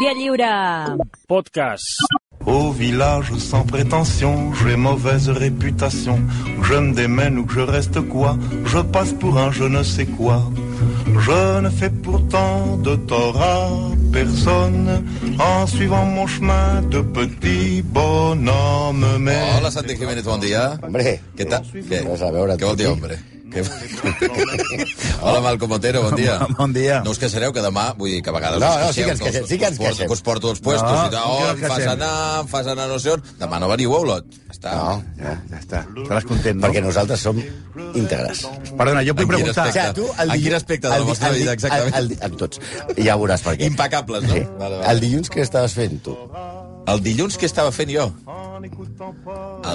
Via lliure! Podcast. Au village sans prétention, j'ai mauvaise réputation. Que Je me démène ou que je reste quoi Je passe pour un je ne sais quoi. Je ne fais pourtant de tort à personne en suivant mon chemin de petit bonhomme. Mais Hola, Santi Jiménez, bon dia. Hombre, Què tal? Què? Res a veure, Què vol dir, Toti? hombre? Què... Hola, Malcom Otero, bon dia. Bon dia. No us queixareu que demà, vull dir, que a vegades... No, us no, queixeu, sí que ens queixem, sí que ens us porto- queixem. Que us porto els puestos No, i tal, no oh, que em ens fas queixem. anar, em fas anar no sé on. Demà no veniu a Olot. Està. No, Ja, ja està. Estaràs content, no? perquè nosaltres som íntegres. Perdona, En jo et vull quin preguntar... aspecte? En dilluns- quin aspecte de la el di- vostra el di- vida, exactament? El, el, en tots. Ja veuràs per què. Impecables, no? Sí. Vale, vale. El dilluns que estaves fent, tu? El dilluns que estava fent jo? Ah,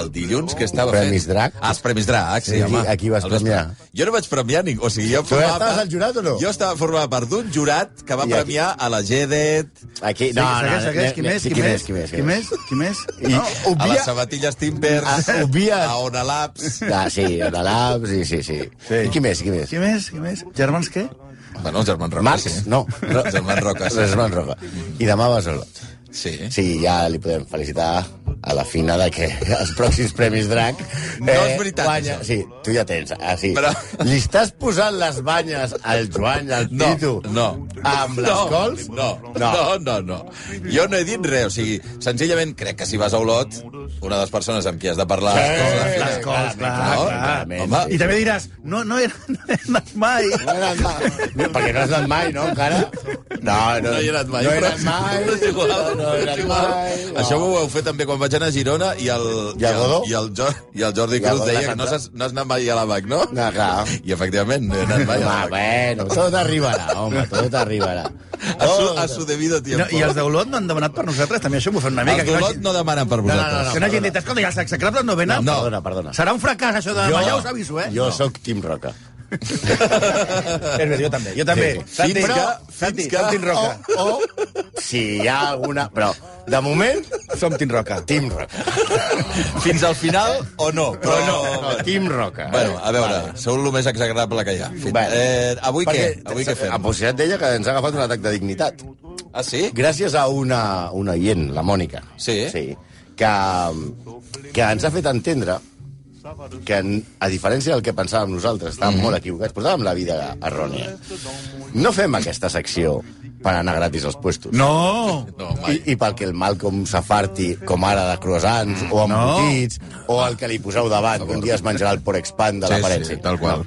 El dilluns que estava Premis fent... Drac? Ah, els Premis Drac, sí, Sí, home. a qui vas Els vaig premiar? pre- Jo no vaig premiar ningú, o sigui, jo Tu formava... estaves part- al jurat o no? Jo estava formada part d'un jurat que va I aquí- premiar a la GEDET, Aquí, No, segueix, segueix, qui més, sí, qui més, qui més, qui més, qui més? No? a les Obvia... sabatilles Timbers, Ah, obvia- a Ona Labs... Ah, sí, a l'Alab, sí, sí, sí. Sí. I qui més, qui més? Qui més, qui més? Germans, què? Bueno, els germans Roca, sí. Marx? No. Els germans Roca, Els sí. germans Roca. I demà vas a Olot. Sí. Sí, ja li podem felicitar a la fina de que els pròxims Premis Drac... No és veritat, guanya... això. Sí, tu ja tens. Ah, sí. Però- Li estàs posant les banyes al Joan, al No, Titu? no. Amb les no, cols? No, no, no, no. Jo no he dit res, o sigui, senzillament crec que si vas a Olot, una de les persones amb qui has de parlar... Sí, és la fina. Les cols, clar, No? clar. clarament, Home, I també diràs, no, no he no he anat mai. No he anat mai. No, perquè no has anat mai, no, encara? No, no, No hi he anat mai. No he però- anat mai. Però és igual. No, no he és anat igual. mai. No. Això ho heu fet també quan vaig anar a Girona i el, I al Godó? i el, Jo- i el Jordi I al Cruz Godó de deia que Santa. no has, no has anat mai a l'ABAC, no? No, clar. I efectivament, no he anat mai a Home, l'ABAC. bueno, tot arribarà, home, tot arribarà. A su, a su debido tiempo. No, I els d'Olot no han demanat per nosaltres, també això m'ho fan una mica. Els d'Olot no demanen per vosaltres. Que no hagin dit, escolta, i els execrables no venen? No. Oh, Perdona, perdona. Serà un fracàs, això de demà, ja us aviso, eh? Jo sóc Tim Roca. Jo també, jo també. Sí. Santi, Fins que- però- fins Santi, que- som Tim Roca. O, o, si hi ha alguna... Però, de moment, Som Tim Roca. Tim Roca. Oh, Fins al final o no? Però no. Tim Roca. Bueno, a veure, sou el més exagerable que hi ha. Fins, Bueno. eh, avui què? Avui què En Ah, fem? Pocinat deia que ens ha agafat un atac de dignitat. Ah, sí? Gràcies a una, una oient, la Mònica. Sí? sí que, que ens ha fet entendre que, en- a diferència del que pensàvem nosaltres, estàvem molt equivocats, portàvem la vida errònia. No fem aquesta secció per anar gratis als puestos. No! No, mai. I, I pel que el Malcolm s'afarti, com ara de croissants, o embotits, o el que li poseu davant, que un dia es menjarà el porc expand de Sí, l'aparença. sí, tal qual.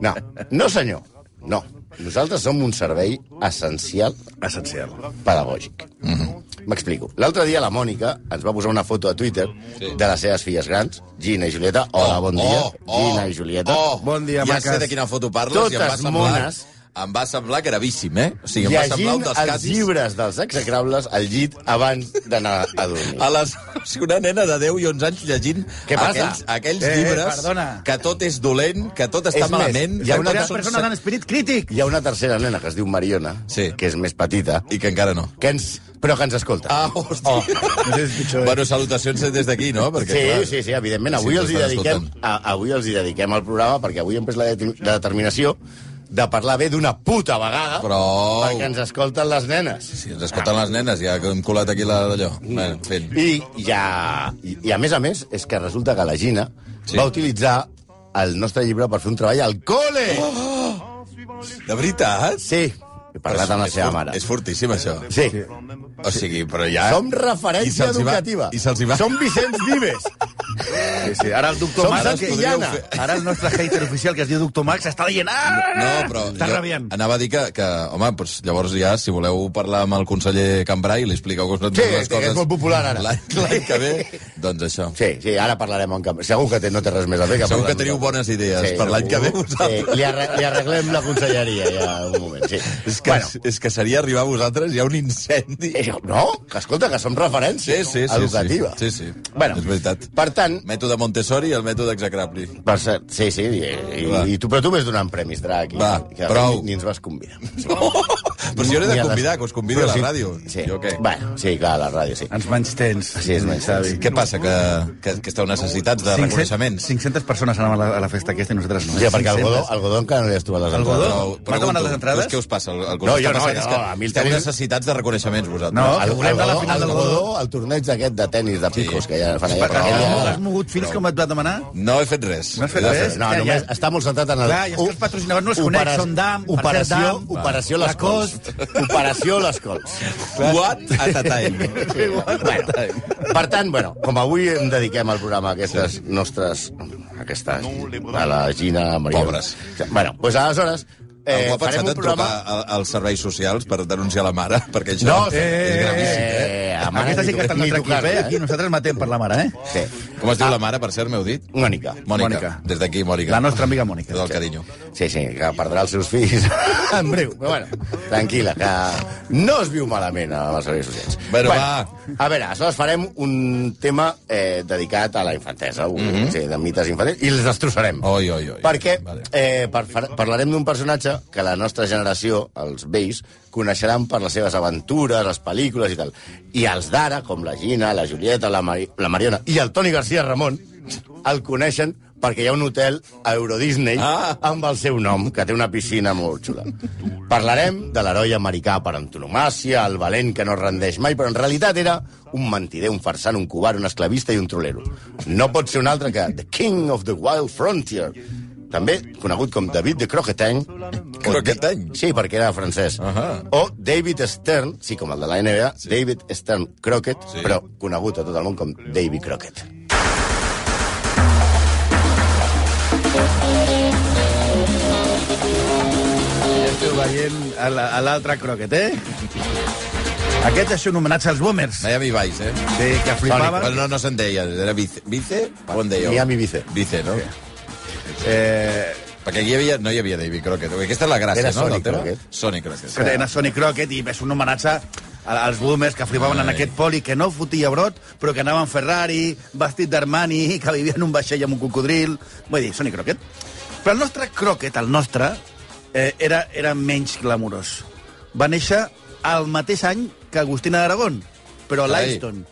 No, no senyor, no. Nosaltres som un servei essencial essencial pedagògic. Mhm. M'explico. L'altre dia la Mònica ens va posar una foto a Twitter Sí. Oh, de les seves filles grans, Gina i Julieta. Hola, bon dia. Gina i Julieta. Bon dia, ja maques. sé de quina foto parles i em va Totes semblar... mones. Em va semblar gravíssim, eh? O sigui, em va semblar Llegint un dels els casos... llibres dels execrables al llit abans d'anar a dormir. A les... o sigui, Una nena de 10 i 11 anys llegint Què passa? aquells, aquells Eh, eh, llibres perdona. que tot és dolent, que tot està És més, malament... hi ha que una tot Una són persona sac- amb esperit crític. Hi ha una tercera nena que es diu Mariona, Sí. que és més petita, I que encara no. que ens, però que ens escolta. Ah, Oh. hòstia. No sé si és pitjor, eh? Bueno, salutacions des d'aquí, no? Perquè, Sí, clar, sí, sí, evidentment. Avui, Sí, els hi t'estan dediquem, escoltant. a, avui els hi dediquem al programa perquè avui hem pres la, de- la determinació de parlar bé d'una puta vegada Prou. perquè ens escolten les nenes. Si ens escolten les nenes, ja que hem colat aquí la d'allò. Bueno, en fi. I, ja, i, I a més a més és que resulta que la Gina Sí. sí. va utilitzar el nostre llibre per fer un treball al col·le. Oh. De veritat? Sí, he parlat amb la És seva fort- mare. És fortíssim, això. Sí. O sigui, però ja... Som Eh? I se'ls referència hi va- educativa. i se'ls hi va- Som Vicenç Vives. Sí, sí. Ara el doctor Som Mas... ara Sants es que- podríeu Quillana. fer- Ara el nostre hater oficial, que es diu Doctor Max, està dient... Ah! No, però Està rabiant. anava a dir que, que home, doncs, llavors ja, si voleu parlar amb el conseller Cambrai, li expliqueu que us no Sí, que és molt popular ara. L'any l'any que ve, doncs això. Sí, sí, ara parlarem en camp. Segur que té, no té res més a fer. Que Segur parlar que amb teniu nosaltres. bones idees per l'any que ve vosaltres. Sí, li, arre li arreglem la conselleria, ja, un moment, sí. És que, bueno. és que seria arribar a vosaltres, hi ha un incendi. Eh, No, que escolta, que som referència Sí, sí, sí. educativa. Sí, sí. sí. Bueno, és veritat. Per tant, Mètode Montessori i el mètode execrable. per cert, sí, sí, i, i, Va. i tu, però tu m'has donat premis, Drac, i, Va, que prou. Ni, ni ens vas convidar. Oh, Però si jo l'he Ni de a les- convidar, que us convido a Però la sí. ràdio. Sí. Jo què? Bueno, sí, clar, la ràdio, sí. Ens menys tens. Sí, és menys tens. Què passa? Que, que, que esteu necessitats de reconeixements? 500 persones anaven a la, a la festa aquesta i nosaltres no. Sí, perquè al 500. Godó, al Godó encara no li has trobat les Al entrades. Godó? Però, M'ha pregunto, demanat les entrades? doncs Què us passa? El, el que No, us jo està no, passant no, és que a mi el esteu tenim- necessitats de reconeixements, vosaltres. No, Al, Volem al, anar a la Godó, final al del Godó. Godó, el torneig aquest de tennis de picos que ja fan allà. Perquè perquè has, ja- has mogut fins com et va demanar? No he fet res. No has fet He de res? fer- No, Ja, ja. només està molt centrat en el... Clar, i és que els patrocinadors no els conec, Operac- són Dam, per Operació, cert, Dam. operació Va. Les Cols. Operació Les Cols. What at a time. bueno, per tant, bueno, com avui em dediquem al programa a aquestes nostres... Aquestes... A la Gina... Maria... Pobres. Bueno, doncs aleshores... Eh, Algú Eh, ha farem pensat un en trucar programa... a- als serveis socials per denunciar la mare? Perquè això No, és eh, gravíssim, eh? Eh, a mare Aquesta sí que ni- està en ni l'altre equip, eh? tocar-la, Aquí nosaltres matem per la mare, eh? Sí. Com es diu la mare, per cert, m'heu dit? Mònica. Mònica. Mònica. Mònica. Des d'aquí, Mònica. La nostra amiga Mònica. Tot el carinyo. Sí, sí, que perdrà els seus fills en breu. Però bueno, tranquil·la, que no es viu malament amb els serveis socials. Bueno, A veure, aleshores farem un tema eh, dedicat a la infantesa, un, mm -hmm. sí, de mites infantils, i els destrossarem. Mhm. Oi, oi, oi. Perquè Vale. eh, per, far- parlarem d'un personatge que la nostra generació, els vells, coneixeran per les seves aventures, les pel·lícules i tal. I els d'ara, com la Gina, la Julieta, la, Mari la Mariona i el Toni García Ramon, el coneixen perquè hi ha un hotel a Euro Disney Ah. amb el seu nom, que té una piscina molt xula. Parlarem de l'heroi americà per antonomàcia, el valent que no es rendeix mai, però en realitat era un mentider, un farsant, un covard, un esclavista i un trolero. No pot ser un altre que The King of the Wild Frontier, també conegut com David de Croquetin. o Croquetin? Da- Sí, perquè era francès. Ahà. O David Stern, sí, com el de la NBA, David Stern Crockett, Sí. però conegut a tot el món com David Crockett. Ja esteu veient a la- a l'altre croquet, eh? Aquest és un homenatge als boomers. Miami Vice, eh? Sí, que Bueno, flipaven. no, no se'n deia, era Vice. Vice? On dèieu? Miami Vice. Vice, no? Eh, Perquè aquí hi havia, no hi havia David Crockett. Aquesta és la gràcia, Era no? del Sonny tema? Crockett. Sonny Crockett. que era Sonny Crockett i és un homenatge a- als boomers que flipaven en Ai. aquest poli que no fotia brot, però que anava en Ferrari, vestit d'Armani, que vivia en un vaixell amb un cocodril... Vull dir, Sonny Crockett. Però el nostre Crockett, el nostre, eh, era, era menys glamurós. Va néixer el mateix any que Agustina d'Aragón, però a Carai. Lyston,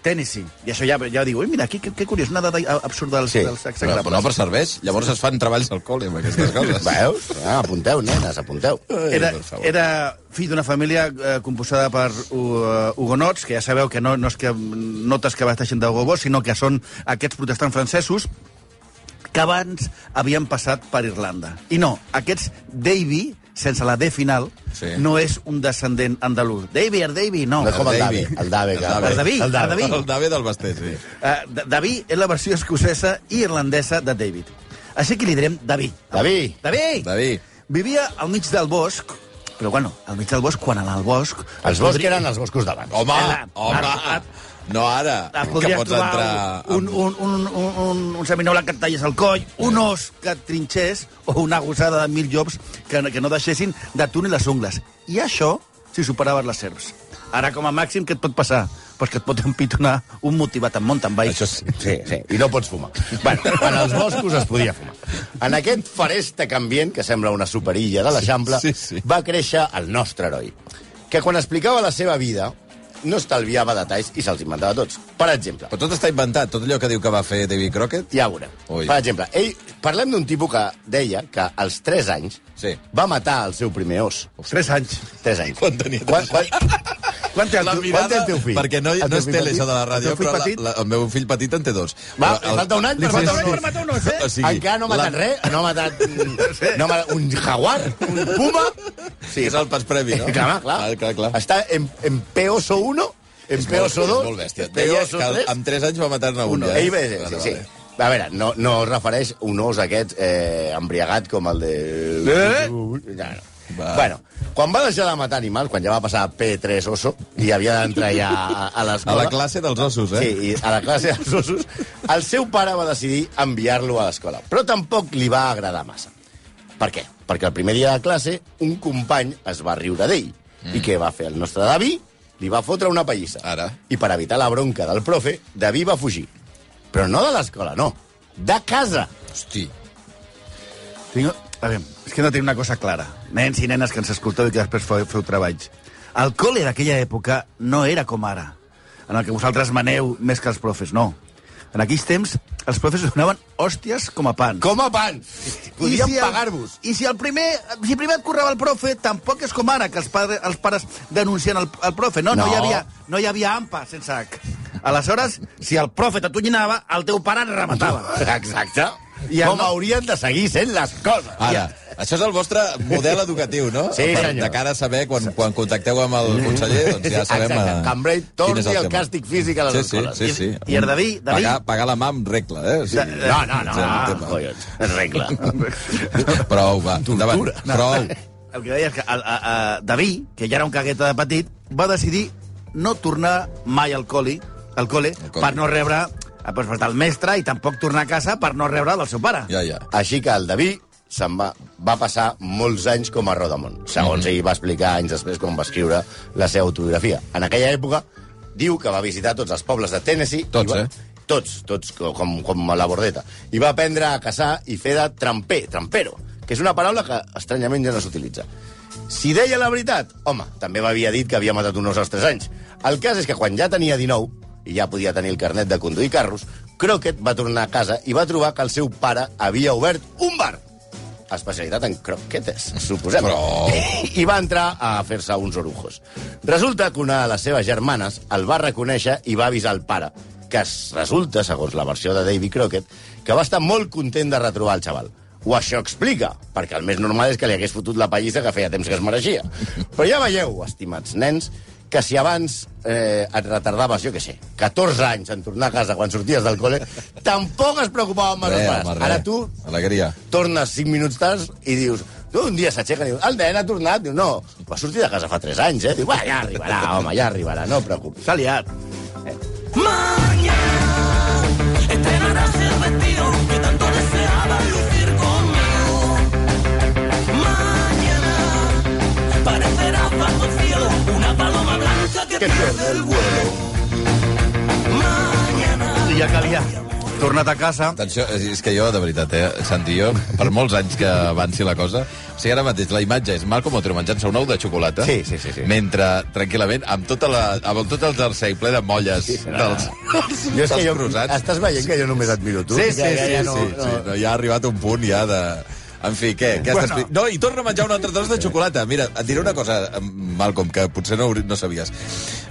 Tennessee. I això ja, ja ho diu, ui, mira, que, que, que curiós, una dada absurda dels, Sí, sí. dels Però, exagrables. no, però serveix. Llavors es fan treballs al col·le amb aquestes coses. Veus? Ah, apunteu, nenes, apunteu. Era, doncs per favor. era fill d'una família eh, composada per uh, hugonots, que ja sabeu que no, no és que notes que va estar gent d'Hugo Boss, sinó que són aquests protestants francesos que abans havien passat per Irlanda. I no, aquests Davy, sense la D final, Sí. sí. no és un descendent andalús. Davy, el Davy, no. No és com el Dave, Davy. el Dave. que- El Davy. El Dave. El Davy. El David del Basté, sí. Eh, D- David és la versió escocesa i irlandesa de David. Així que li direm David. David. David! David. Vivia al mig del bosc, però bueno, al mig del bosc, quan anar al bosc... Els boscs eren els boscos d'abans. Home, Era- home. ara- No ara, Et que Ah, podries pots trobar entrar... un, amb- Eh. un, un, un, un, un seminola que et talles el coll, un os que et trinxés o una gossada de mil llops que, que no deixessin de tu ni les ungles. I això si superaves les serps. Ara, com a màxim, què et pot passar? Pues que et pot empitonar un motivat en mountain bike. Això sí. Sí, sí, i no pots fumar. Bueno, en els boscos es podia fumar. En aquest farèstec ambient, que sembla una superilla de l'Eixample, Sí, sí, sí. va créixer el nostre heroi, que quan explicava la seva vida no estalviava detalls i se'ls inventava tots. Per exemple, Però tot està inventat, tot allò que diu que va fer David Crockett. ja ho veurem. Ui. Per exemple, ell, parlem d'un tipus que deia que als 3 anys Sí. va matar el seu primer os. Tres anys. 3 anys. Quan tenia Quan, quan... Quan té el La tu- mirada- quan té el teu fill? Perquè no, El no teu és fill tele, petit? això de la ràdio, El teu fill però la, petit? la, el meu fill petit en té dos. Va, Però li falta un any li per matar falta un os, un per any. matar un os, eh? O sigui, Encara no ha matat la- res, no ha matat, no ha matat un jaguar, un puma. Sí. És el pas previ, no? Clar, clar. Ah, clar, clar. Està en, en Peoso 1, en Peoso 2, És molt bèstia. Deia Peoso que 3... amb 3 anys va matar-ne un. eh? Ell va dir, sí, sí. A veure, no, no es refereix un os aquest eh, embriagat com el de... Eh? No, no. Va. Bueno, quan va deixar de matar animals, quan ja va passar a P3 Oso, i havia d'entrar ja a, a A l'escola... la classe dels ossos, eh? Sí, i a la classe dels ossos, el seu pare va decidir enviar-lo a l'escola. Però tampoc li va agradar massa. Per què? Perquè el primer dia de classe un company es va riure d'ell. Mm. I què va fer el nostre Daví? Li va fotre una pallissa. Ara. I per evitar la bronca del profe, Daví va fugir. Però no de l'escola, no. De casa. Hosti. Tinc, A veure, és que no tinc una cosa clara. Nens i nenes que ens escolteu i que després feu, feu treballs. El col·le d'aquella època no era com ara, en el que vosaltres maneu més que els profes, no. En aquells temps, els profes us donaven hòsties com a pan. Com a pan! Podríem I si el- pagar-vos. I si el primer, si primer et correva el profe, tampoc és com ara, que els, padre, els pares denuncien el, el profe. No, no, No. hi havia, no hi havia ampa sense H. Aleshores, si el profe t'atonyinava, el teu pare et rematava. Exacte. I el Com no- haurien de seguir sent les coses. Ara, això és el vostre model educatiu, no? Sí, Per- senyor. Mm. De cara a saber, quan, quan contacteu amb el conseller, doncs ja sabem... Exacte. eh, Cambrai torni quin és el, el tema. càstig físic a les Sí, sí, escoles. sí, sí. I- i el David- David- Pagar, pagar la mà amb regla, eh? O sigui, No, no, és no. un Ah, tema. collons, és regla. Prou, va, endavant. Prou. El que deia és que el, a, a David, que ja era un cagueta de petit, va decidir no tornar mai al col·li, al col·le, Al col·li. per no rebre eh, doncs, del mestre i tampoc tornar a casa per no rebre del seu pare. Ja, ja. Així que el Daví se'n va, va passar molts anys com a Rodamont, segons ell va explicar anys després quan va escriure la seva autobiografia. En aquella època, diu que va visitar tots els pobles de Tennessee... i Tots, va, eh? Tots, tots, co- com, com a la bordeta. I va aprendre a caçar i fer de tramper, trampero, que és una paraula que estranyament ja no s'utilitza. Si deia la veritat, home, també m'havia dit que havia matat un os als 3 anys. El cas és que quan ja tenia 19 i ja podia tenir el carnet de conduir carros, Crockett va tornar a casa i va trobar que el seu pare havia obert un bar. Especialitat en croquetes, suposem. Però- I va entrar a fer-se uns orujos. Resulta que una de les seves germanes el va reconèixer i va avisar el pare, que es resulta, segons la versió de Davy Crockett, que va estar molt content de retrobar el xaval. O això explica, perquè el més normal és que li hagués fotut la pallissa que feia temps que es mereixia. Però ja veieu, estimats nens, que si abans eh, et retardaves, jo què sé, 14 anys en tornar a casa quan sorties del col·le, tampoc es preocupaven més Re, els home, pares. re. Ara tu Alegria. tornes 5 minuts tard i dius... Tu un dia s'aixequen i dius, el nen ha tornat. Diu, no, va sortir de casa fa 3 anys, eh? Diu, va, ja arribarà, home, ja arribarà, no et preocupis. S'ha liat. Mañana estrenarás el vestido que tanto deseabas lucir conmigo. Mañana parecerás bajo el cielo una paloma blanca que Que pierde perd el el vuelo. vuelo. Mañana I ja calia. Tornat a casa. Atenció, és és que jo, de veritat, eh, Santi, jo, per molts anys que avanci la cosa... O sigui, ara mateix la imatge és Malcolm Otero menjant-se un ou de xocolata, Sí, sí, sí, sí. mentre, tranquil·lament, amb, tota la, amb tot el jersei ple de molles sí, dels, dels, Jo és que dels jo, croissants. estàs veient que jo només et miro tu? Sí, sí, Ja- ja- sí, ja sí, sí. No, ja ha arribat un punt ja de... En fi, què? què bueno. Bueno. No, i torna a menjar un altre tros de xocolata. Mira, et diré una cosa, Malcolm, que potser no, hauri- no sabies.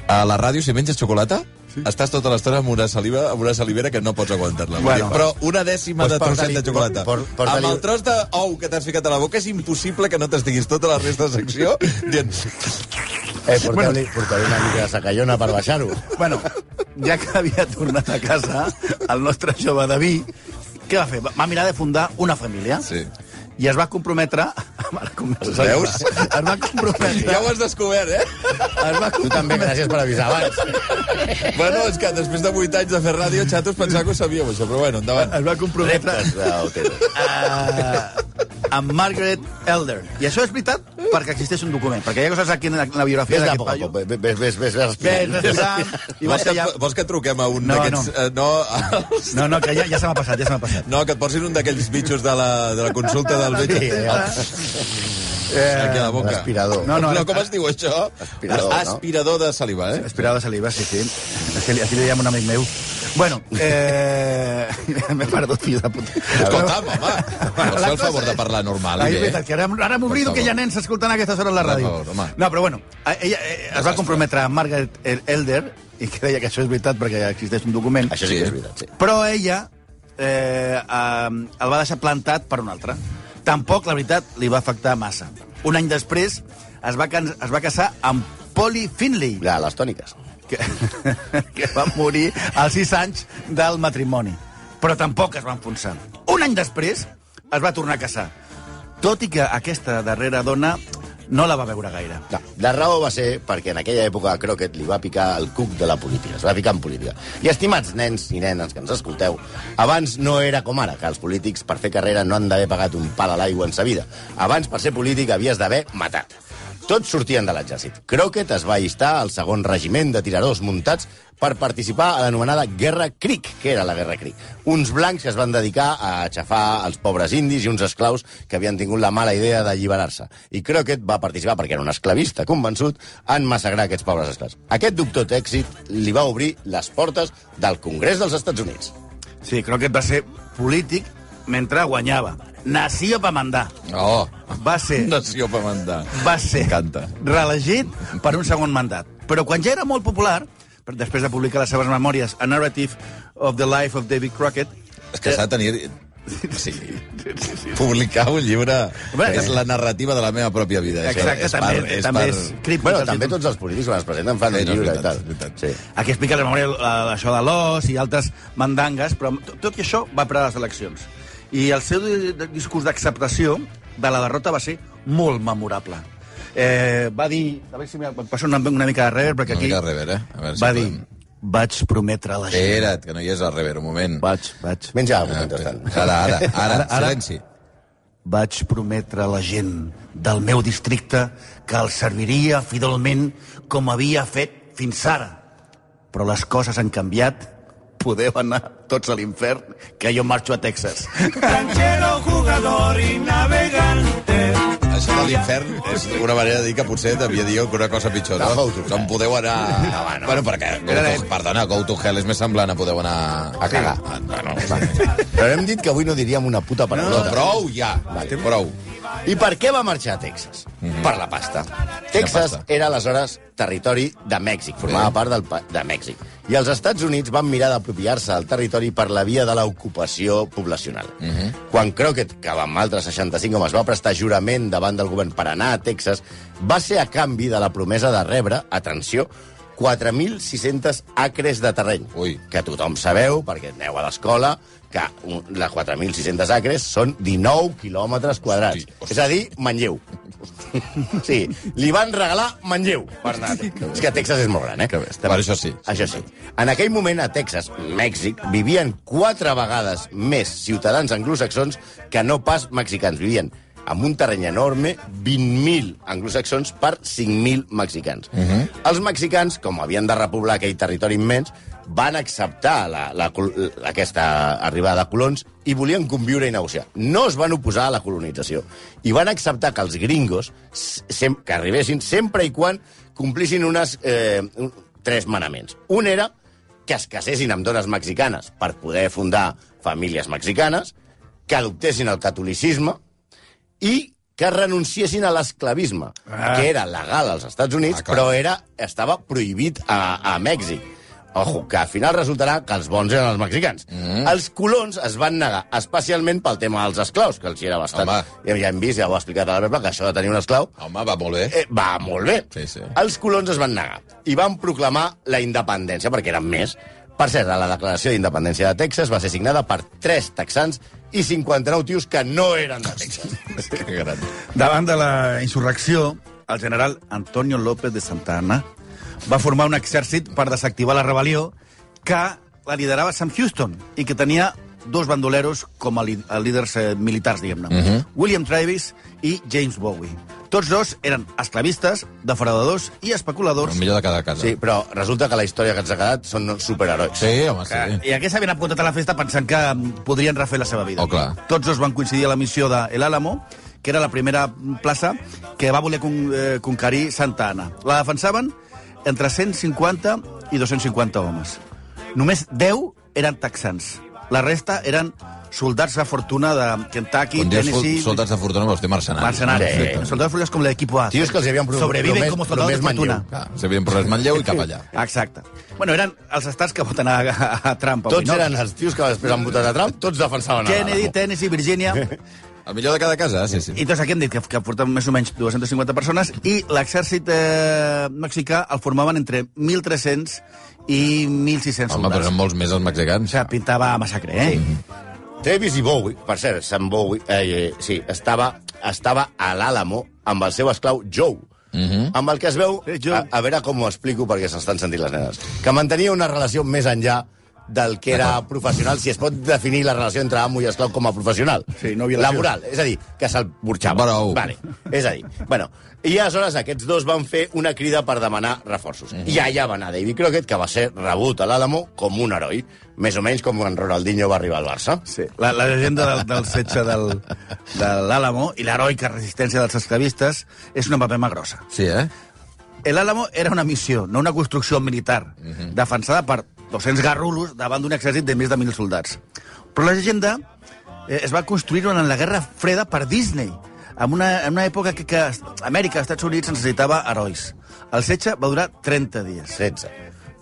A la ràdio, si menges xocolata, sí. estàs tota l'estona amb una saliva amb una salivera que no pots aguantar-la. Bueno. Bueno. Però una dècima Doncs de trosset porta-li- de xocolata. por- porta-li- amb el tros d'ou que t'has ficat a la boca és impossible que no t'estiguis tota la resta de secció dient... Eh, porteu-li porteu una mica de sacallona per baixar-ho. Bueno, ja que havia tornat a casa, el nostre jove David, què va fer? Va- Va mirar de fundar una família. Sí. I es va comprometre... Ara comença. Veus? Es va comprometre... Ja ho has descobert, eh? Es va Tu també, gràcies per avisar abans. bueno, és que després de 8 anys de fer ràdio, xatos, pensava que ho sabíeu, això, però bueno, endavant. es va comprometre Otero. eh, amb Margaret Elder. I això és veritat perquè existeix un document, perquè hi ha coses aquí en la, en la biografia Vés de a d'aquest poc a paio. poc, ves, ves, ves, ves, Ves respirant. respirant i Vols vas que, callar. vols que truquem a un No, d'aquests... no. eh, No. No, no, que ja, ja se m'ha passat, ja se m'ha passat. no, que et posin un d'aquells bitxos de la, de la consulta del metge. eh? Sí, Aquí a la boca. Respirador. No, no, No, no, com es diu això? Aspirador, no? Aspirador de saliva, eh? Aspirador de saliva, sí, sí. És que li- aquí li dèiem un amic meu. Bueno, eh... M'he perdut, fill de puta. Escolta'm, home, pots fer el favor de parlar normal, Ai, és bé? veritat, que ara, ara m'oblido Per favor. que hi ha nens escoltant a aquestes hores a la Per ràdio. favor, home. no, però bueno, a- ella eh, es va comprometre a Margaret El- Elder i que deia que això és veritat perquè existeix un document. Això sí que és veritat, sí. Però ella eh, eh, el va deixar plantat per un altre. Tampoc, la veritat, li va afectar massa. Un any després es va, can... es va casar amb Polly Finley Ja, les tòniques. que, que va morir als 6 anys del matrimoni. Però tampoc es va enfonsar. Un any després es va tornar a casar. Tot i que aquesta darrera dona no la va veure gaire. No, la raó va ser perquè en aquella època a Crockett li va picar el cuc de la política, es va picar en política. I estimats nens i nenes que ens escolteu, abans no era com ara, que els polítics per fer carrera no han d'haver pagat un pal a l'aigua en sa vida. Abans, per ser polític, havies d'haver matat. Tots sortien de l'exèrcit. Crockett es va allistar al segon regiment de tiradors muntats per participar a l'anomenada Guerra Creek, que era la Guerra Creek. Uns blancs que es van dedicar a aixafar els pobres indis i uns esclaus que havien tingut la mala idea d'alliberar-se. I Crockett va participar, perquè era un esclavista convençut, en massacrar aquests pobres esclaus. Aquest dubtós èxit li va obrir les portes del Congrés dels Estats Units. Sí, Crockett va ser polític mentre guanyava. Nació pa mandar. Oh, Va ser... nació per mandar. va ser M'encanta. reelegit per un segon mandat. Però quan ja era molt popular, per- després de publicar les seves memòries A Narrative of the Life of David Crockett, És Eh. que s'ha de tenir... Sí. Publicar un llibre Bé, que és la narrativa de la meva pròpia vida. Això exacte, també, per- també per- és críptic. Bueno, el també títol. tots els polítics quan es presenten fan Sí, no, sí, un és llibre veritat, i és tal. veritat. Sí. Aquí explica la memòria eh, això de l'os i altres mandangues, però to- tot i això va parar les eleccions. I el seu di- di- discurs d'acceptació de la derrota va ser molt memorable. Eh, va dir... A veure si em passo una, una mica de rever, perquè Una aquí... mica de rever, eh? A veure si va dir... podem. Vaig prometre a la gent... Espera't, que no hi és al rever, un moment. Vaig, vaig. Menja Ah, alguna cosa, espera. mentrestant. Ara, ara, ara, silenci. Vaig prometre a la gent del meu districte que els serviria fidelment com havia fet fins ara. Però les coses han canviat. Podeu anar tots a l'infern, que jo marxo a Texas. Ranchero, jugador y navegante. Això de l'infern és una manera de dir que potser devia dir una cosa pitjor, no? Go to hell. Em podeu anar... No, bueno, bueno, perquè... Go to... Perdona, Go to Hell és més semblant a podeu anar... A cagar. Ah, no, no. Però hem dit que avui no diríem una puta no, paraula. prou, ja. Prou. I per què va marxar a Texas? Per la pasta. Mhm. Texas pasta. era aleshores territori de Mèxic, formava Sí. part del pa de Mèxic. I els Estats Units van mirar d'apropiar-se del territori per la via de l'ocupació poblacional. Mhm. Quan Crockett, que va amb altres 65 homes, va prestar jurament davant del govern per anar a Texas, va ser a canvi de la promesa de rebre, atenció, 4.600 acres de terreny. Ui. Que tothom sabeu, perquè aneu a l'escola, que un- les 4.600 acres són 19 quilòmetres quadrats. Hosti, hosti. És a dir, Manlleu. Sí, li van regalar Manlleu, Bernat. És que Texas és molt gran, eh? Que bé. Bueno, això sí. Això sí. En aquell moment, a Texas, Mèxic, vivien quatre vegades més ciutadans anglosaxons que no pas mexicans. Vivien amb un terreny enorme, 20.000 anglosaxons per 5.000 mexicans. Mhm. Els mexicans, com havien de repoblar aquell territori immens, van acceptar la, la, col- aquesta arribada de colons i volien conviure i negociar. No es van oposar a la colonització i van acceptar que els gringos s- sem que arribessin sempre i quan complissin unes, eh, un- tres manaments. Un era que es casessin amb dones mexicanes per poder fundar famílies mexicanes, que adoptessin el catolicisme i que renunciessin a l'esclavisme, ah. que era legal als Estats Units, Ah, ah, clar. però era, estava prohibit a, a Mèxic. Ojo, que al final resultarà que els bons eren els mexicans. Mm. Els colons es van negar, especialment pel tema dels esclaus, que els hi era bastant... Home. Ja, ja hem vist, ja ho ha explicat a la Bebla, que això de tenir un esclau Home, va molt bé. eh, va molt bé. Sí, sí. Els colons es van negar i van proclamar la independència, perquè eren més. Per cert, la declaració d'independència de Texas va ser signada per 3 texans i 59 tios que no eren de Texas. Que gran. Davant de la insurrecció, el general Antonio López de Santa Anna va formar un exèrcit per desactivar la rebel·lió que la liderava Sam Houston i que tenia dos bandoleros com a, lí- a líders eh, militars, diguem-ne. William Travis i James Bowie. Tots dos eren esclavistes, defraudadors i especuladors. El millor de cada casa. Sí, però resulta que la història que ens ha quedat són superherois. Sí, home, sí. Que, Eh, I aquests havien apuntat a la festa pensant que mm, podrien refer la seva vida. Oh, clar. Tots dos van coincidir a la missió de El Álamo, que era la primera plaça que va voler con, eh, conquerir Santa Anna. La defensaven entre 150 i 250 homes. Només 10 eren texans. La resta eren soldats de fortuna de Kentucky, Quan dius sol- Tennessee... soldats de fortuna, vols dir mercenaris. Mercenaris. Sí. Sí. Soldats de fortuna és com l'equip A. Tios que els hi havien pro- Sobreviven promès- com soldados de promès Manlleu. fortuna. Clar, s'havien posat Manlleu i cap allà. Exacte. Bueno, eren els estats que voten a, a, a Trump. avui, Tots no? eren els tios que després han votat a Trump, tots defensaven a Kennedy, l'Alamo. Tennessee, Virgínia... El millor de cada casa, sí, sí. I doncs aquí hem dit que, que portem més o menys 250 persones i l'exèrcit eh, mexicà el formaven entre 1.300 i 1.600 Home, però soldats. són molts més els O mexicans. sigui, pintava massacre, eh? Sí. Travis i Bowie, per cert, Sam Bowie, eh, eh, sí, estava, estava a l'Àlamo amb el seu esclau Joe, amb el que es veu, Eh, Joe. a, a veure com ho explico perquè s'estan sentint les nenes, que mantenia una relació més enllà del que era professional, si es pot definir la relació entre amo i esclau com a professional. Sí, no violació. Laboral, és a dir, que se'l burxava. Bravo. Vale, és a dir, bueno, i aleshores aquests dos van fer una crida per demanar reforços. Mm -hmm. I allà va anar David Crockett, que va ser rebut a l'Àlamo com un heroi, més o menys com quan Ronaldinho va arribar al Barça. Sí, la, la llegenda del, del setge del, de l'Àlamo i l'heroica resistència dels esclavistes és una papema grossa. Sí, eh? El Álamo era una missió, no una construcció militar, uh -huh. defensada per 200 garrulos davant d'un exèrcit de més de 1.000 soldats. Però la llegenda eh, es va construir durant la Guerra Freda per Disney, en una, en una època que, que Amèrica, als Estats Units, necessitava herois. El setge va durar 30 dies. 16.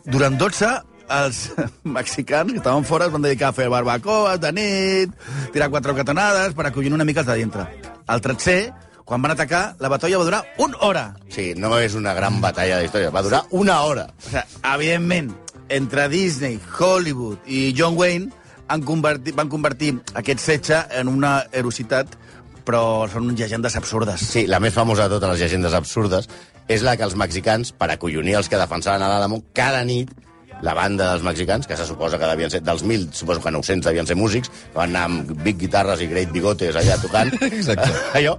Durant 12, els mexicans que estaven fora es van dedicar a fer barbacoes de nit, tirar quatre catonades per acollonir una mica els de dintre. El 13, quan van atacar, la batalla va durar una hora. Sí, no és una gran batalla d'història, va durar una hora. O sigui, evidentment, entre Disney, Hollywood i John Wayne han convertit, van convertir aquest setge en una erositat, però són llegendes absurdes. Sí, la més famosa de totes les llegendes absurdes és la que els mexicans, per acollonir els que defensaven a l'Àlamo, cada nit la banda dels mexicans, que se suposa que devien ser dels 1.000, suposo que 900 devien ser músics, que van anar amb big guitarres i great bigotes allà tocant, Exacte. allò,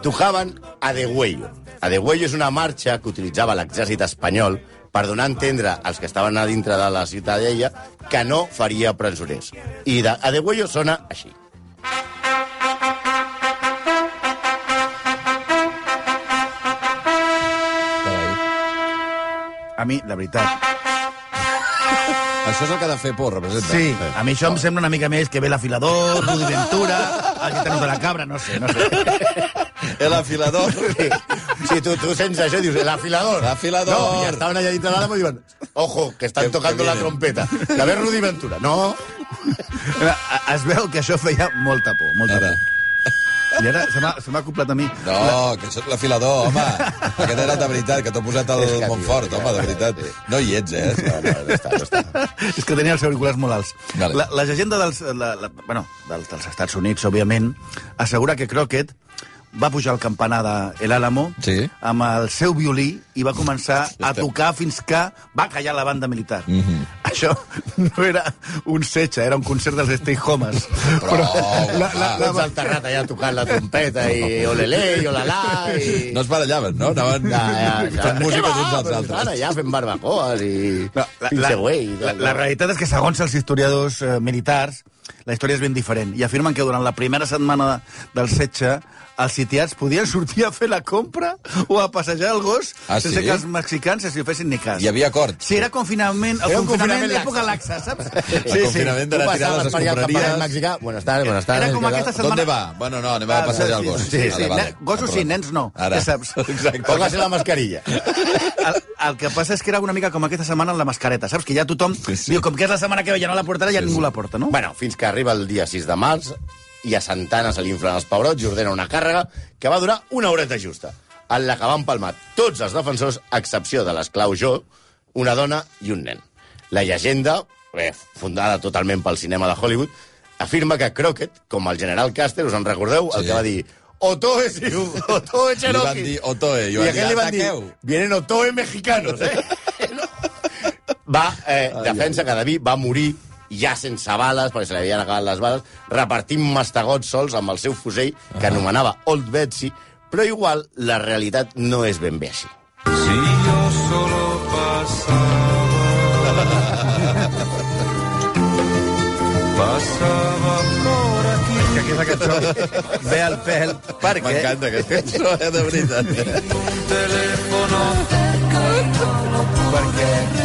tocaven a De Güello. A De Güello és una marxa que utilitzava l'exèrcit espanyol per donar a entendre als que estaven a dintre de la ciutadella que no faria presoners. I de, a De Güello sona així. Carai. A mi, la veritat. Això és el que ha de fer por, representa. Eh. Sí, a mi això em sembla una mica més que ve l'afilador, Rudy Ventura, el gitano de la cabra, no sé, no sé. El afilador. Sí. Si tu, tu sents això, dius, el afilador. El afilador. No, i estaven allà dintre de l'àlamo i diuen, ojo, que estan Que- que, tocando que la vienen. trompeta. Que ve Rudy Ventura. No, Es veu que això feia molta por, molta Ara. por. I ara se m'ha- se m'ha acoplat a mi. No, que això és l'afilador, home. Aquest era de veritat, que t'ha posat al És que, tio, Montfort, ja, home, de ja, veritat. sí. No hi ets, eh? no, no, no està, no està. És que tenia els auriculars molt alts. Vale. La, la llegenda dels, la, la, bueno, dels, dels Estats Units, òbviament, assegura que Crockett va pujar al campanar de El Álamo Sí. amb el seu violí i va començar a tocar fins que va callar la banda militar. Mm Mhm. -hmm. Això no era un setge, era un concert dels Stay Homes. Però, La, la, la, tots al terrat allà tocant la trompeta i olelé i olalà i... No es barallaven, no? Anaven Ja, ja, ja. fent música Què va? uns als Però altres. estan Allà fent barbacoes i... No, la, la, güey, la, la realitat és que, segons els historiadors eh, militars, la història és ben diferent. I afirmen que durant la primera setmana de, del setge, els sitiats podien sortir a fer la compra o a passejar el gos Ah, sense sí? que els mexicans s'hi fessin ni cas. Hi havia acord. Sí, era confinament, el Era un confinament confinament d'època laxa, saps? El confinament de Tu la tirada a passaves les per allà al campanar escombraries. mexicà... Buenas tardes, buenas tardes. Era com què aquesta tal? setmana- ¿Dónde va? Bueno, no, anem a Ah, passejar el sí, gos. sí, sí, sí. Gossos sí, nens no. Ara. Ja saps. Exacte. Póngase la mascarilla. El, el que passa és que era una mica com aquesta setmana amb la mascareta, saps? Que ja tothom Sí, sí. diu, com que és la setmana que ve ja no la portarà, ja ningú la porta, no? Bueno, fins que arriba el dia 6 de març i a Santana se li inflen els pebrots i ordena una càrrega que va durar una horeta justa, en la que van palmar tots els defensors, a excepció de l'esclau Jo, una dona i un nen. La llegenda, eh, fundada totalment pel cinema de Hollywood, afirma que Crockett, com el general Custer, us en recordeu, el Sí. que va dir Otoe, siu, Otoe Li Cherokee. van dir Otoe, i I van dir, aquell li van dir, "Ataqueu". vienen Otoe mexicanos, eh? va, eh, defensa que David va morir ja sense bales, perquè se li havien acabat les bales, repartint mastegots sols amb el seu fusell, que anomenava Old Betsy, però igual la realitat no és ben bé així. Si yo solo pasaba, pasaba por aquí. que aquesta cançó ve al pèl perquè M'encanta aquesta cançó, eh, de veritat. Un teléfono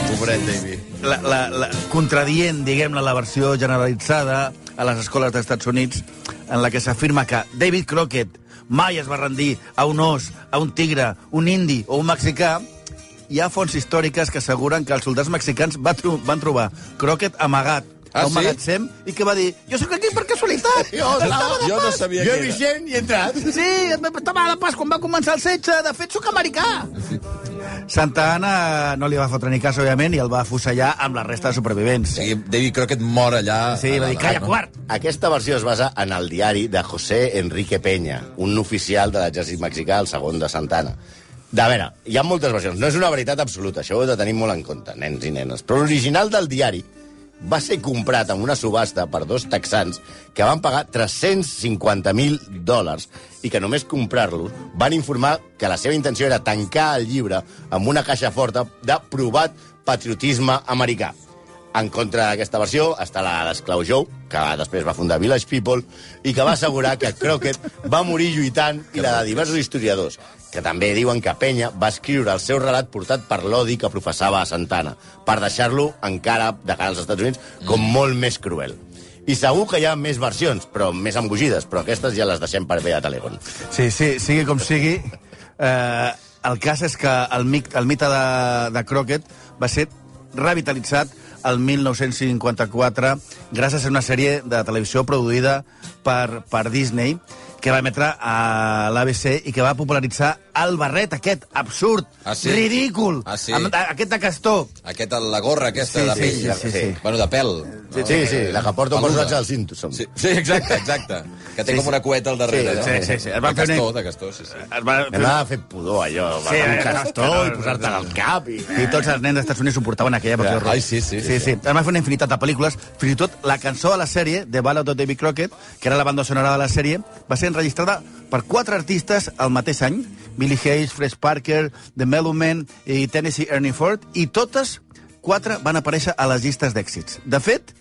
Pobret, Davy. la, la, la, contradient, diguem-ne, la versió generalitzada a les escoles dels Estats Units en la que s'afirma que David Crockett mai es va rendir a un os, a un tigre, un indi o un mexicà, hi ha fonts històriques que asseguren que els soldats mexicans va tro van trobar Crockett amagat Ah, a un sí? magatzem i que va dir jo sóc aquí per casualitat. Jo no sabia Jo què he vist era. gent i he entrat. Sí, estava a la Paz quan va començar el setge. De fet, sóc americà. Santa Anna no li va fotre ni cas, òbviament, i el va afusellar amb la resta O de supervivents. Sí, sigui, Davy Crockett mor allà. a va dir, la- calla, Ah, no? quart. Aquesta versió es basa en el diari de José Enrique Peña, un oficial de l'exèrcit mexicà, el segon de Santana. De veure, hi ha moltes versions. No és una veritat absoluta, això ho heu de tenir molt en compte, nens i nenes. Però l'original del diari va ser comprat en una subhasta per dos texans que van pagar 350.000 dòlars i que només comprar-los van informar que la seva intenció era tancar el llibre amb una caixa forta de provat patriotisme americà. En contra d'aquesta versió està la d'Esclau Jou, que després va fundar Village People, i que va assegurar que Crockett va morir lluitant, i la de diversos historiadors, que també diuen que Penya va escriure el seu relat portat per l'odi que professava a Santana, per deixar-lo encara, de cara als Estats Units, com molt més cruel. I segur que hi ha més versions, però més embogides, però aquestes ja les deixem per bé a Telegon. Sí, sí, sigui com sigui. Eh, el cas és que el, mic, el mite de, de Crockett va ser revitalitzat el 1954 gràcies a una sèrie de televisió produïda per, per Disney que va emetre a l'ABC i que va popularitzar el barret aquest, absurd, Ah, sí? ridícul, Ah, sí? amb, a- aquest de castor. Aquest, la gorra aquesta Sí, de sí, pell. sí, sí, sí. Bueno, de pèl. Sí, sí, sí, la que porta un Peluda. personatge del Simpson. Sí, sí, exacte, exacte. Que té Sí, com una cueta al darrere, Sí, no? sí, sí, sí. Es va De fer una- castor, de castor, sí, sí. Es va Em va fer pudor, allò, sí, Sí, un eh, castor no, i posar-te al cap. I... I tots els nens dels Estats Units ho portaven aquella època. Ja. horror. Ai, sí, sí. sí, sí. Es va fer una infinitat de pel·lícules, fins i tot la cançó de la sèrie, The Ballad of David Crockett, que era la banda sonora de la sèrie, va ser enregistrada per quatre artistes al mateix any, Billy Hayes, Fred Parker, The Mellow Man i Tennessee Ernie Ford, i totes quatre van aparèixer a les llistes d'èxits. De fet,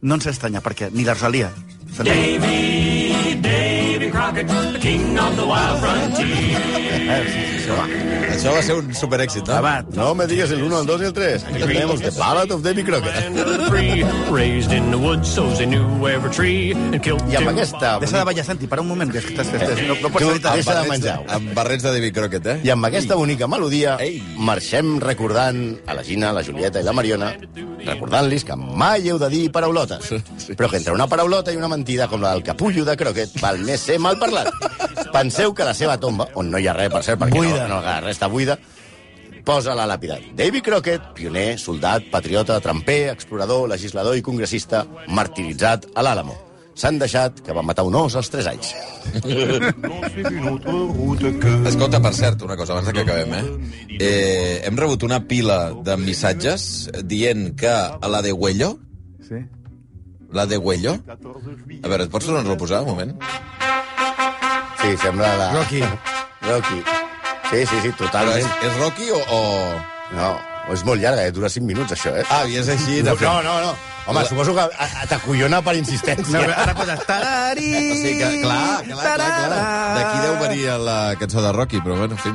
no ens estranya, perquè ni la Rosalia... Davy, Davy Crockett, the king of the wild frontier. Eh, Això va ser un superèxit, no? Abat, No me digues el 1, el 2 y el 3. Aquí tenemos The Ballad of Davy Crockett. And the free, raised in the woods, so they knew every tree and killed I amb two aquesta... deixa de ballar, Santi, para un moment, que estàs... estàs- No, no pots Tu, editar. deixa de Barrets menjar. Amb barrets de David Crockett, eh? I amb aquesta bonica melodia Ei. marxem recordant a la Gina, la Julieta i la Mariona, recordant-los que mai heu de dir paraulotes. Però que entre una paraulota i una mentida com la del capullo de Croquet val més ser mal parlat. Penseu que la seva tomba, on no hi ha res, per cert, perquè Buida. no, no, la resta buida, posa la làpida. Davy Crockett, pioner, soldat, patriota, tramper, explorador, legislador i congressista, martiritzat a l'Àlamo. S'han deixat que va matar un os als 3 anys. Escolta, per cert, una cosa, abans de que acabem, eh? eh hem rebut una pila de missatges dient que a la de Güello, Sí. la de Güello... A veure, et pots tornar-lo a posar, un moment? Sí, sembla la... Rocky. Rocky. Sí, sí, sí, Però totalment. és, és Rocky o... o... No, és molt llarga, eh? dura 5 minuts, això, eh? Ah, i és així... no, De fet. no, no, no. Home, La- suposo que a- a- t'acollona per No, insistència. ara poses... Tarari, O sigui que, clar, clar, clar, clar. D'aquí deu venir la cançó de Rocky, però bueno, en fi...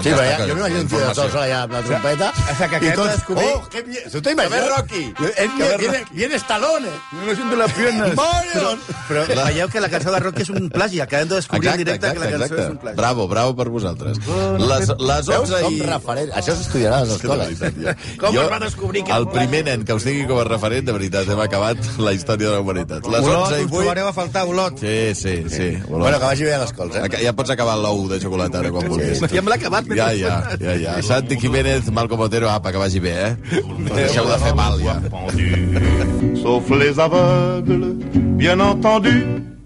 Sí, però ja, jo m'imagino un tio de eh? Informació. sol allà amb la trompeta O sea, que aquest descobrí- Oh, que bien! ¿Tú te imaginas? Que ve Rocky. Él Que ve viene, Rocky. viene Stallone. No me siento las piernas. Marion! Però veieu que la cançó de rock és un plagi, acabem de descobrir en directe que la cançó és un plagi. Bravo, bravo per vosaltres. Les, les Veus 11 com i... referent? Això s'estudiarà a les escoles. Com jo, va descobrir que... El primer nen que us tingui com a referent, de veritat, hem acabat la història de la humanitat. Les Olot, 11 i us 8... trobareu a faltar, Olot. Sí, sí, sí. Bueno, que vagi bé a les escoles, eh? Aca- Ja pots acabar l'ou de xocolata ara quan vulguis. Ja me l'ha acabat, Ja, mentre ja, ja, ja. Santi Jiménez, Malcom Otero, apa, que vagi bé, eh? Deixeu de hein. fer mal, ja. Sauf les aveugles, bien entendu.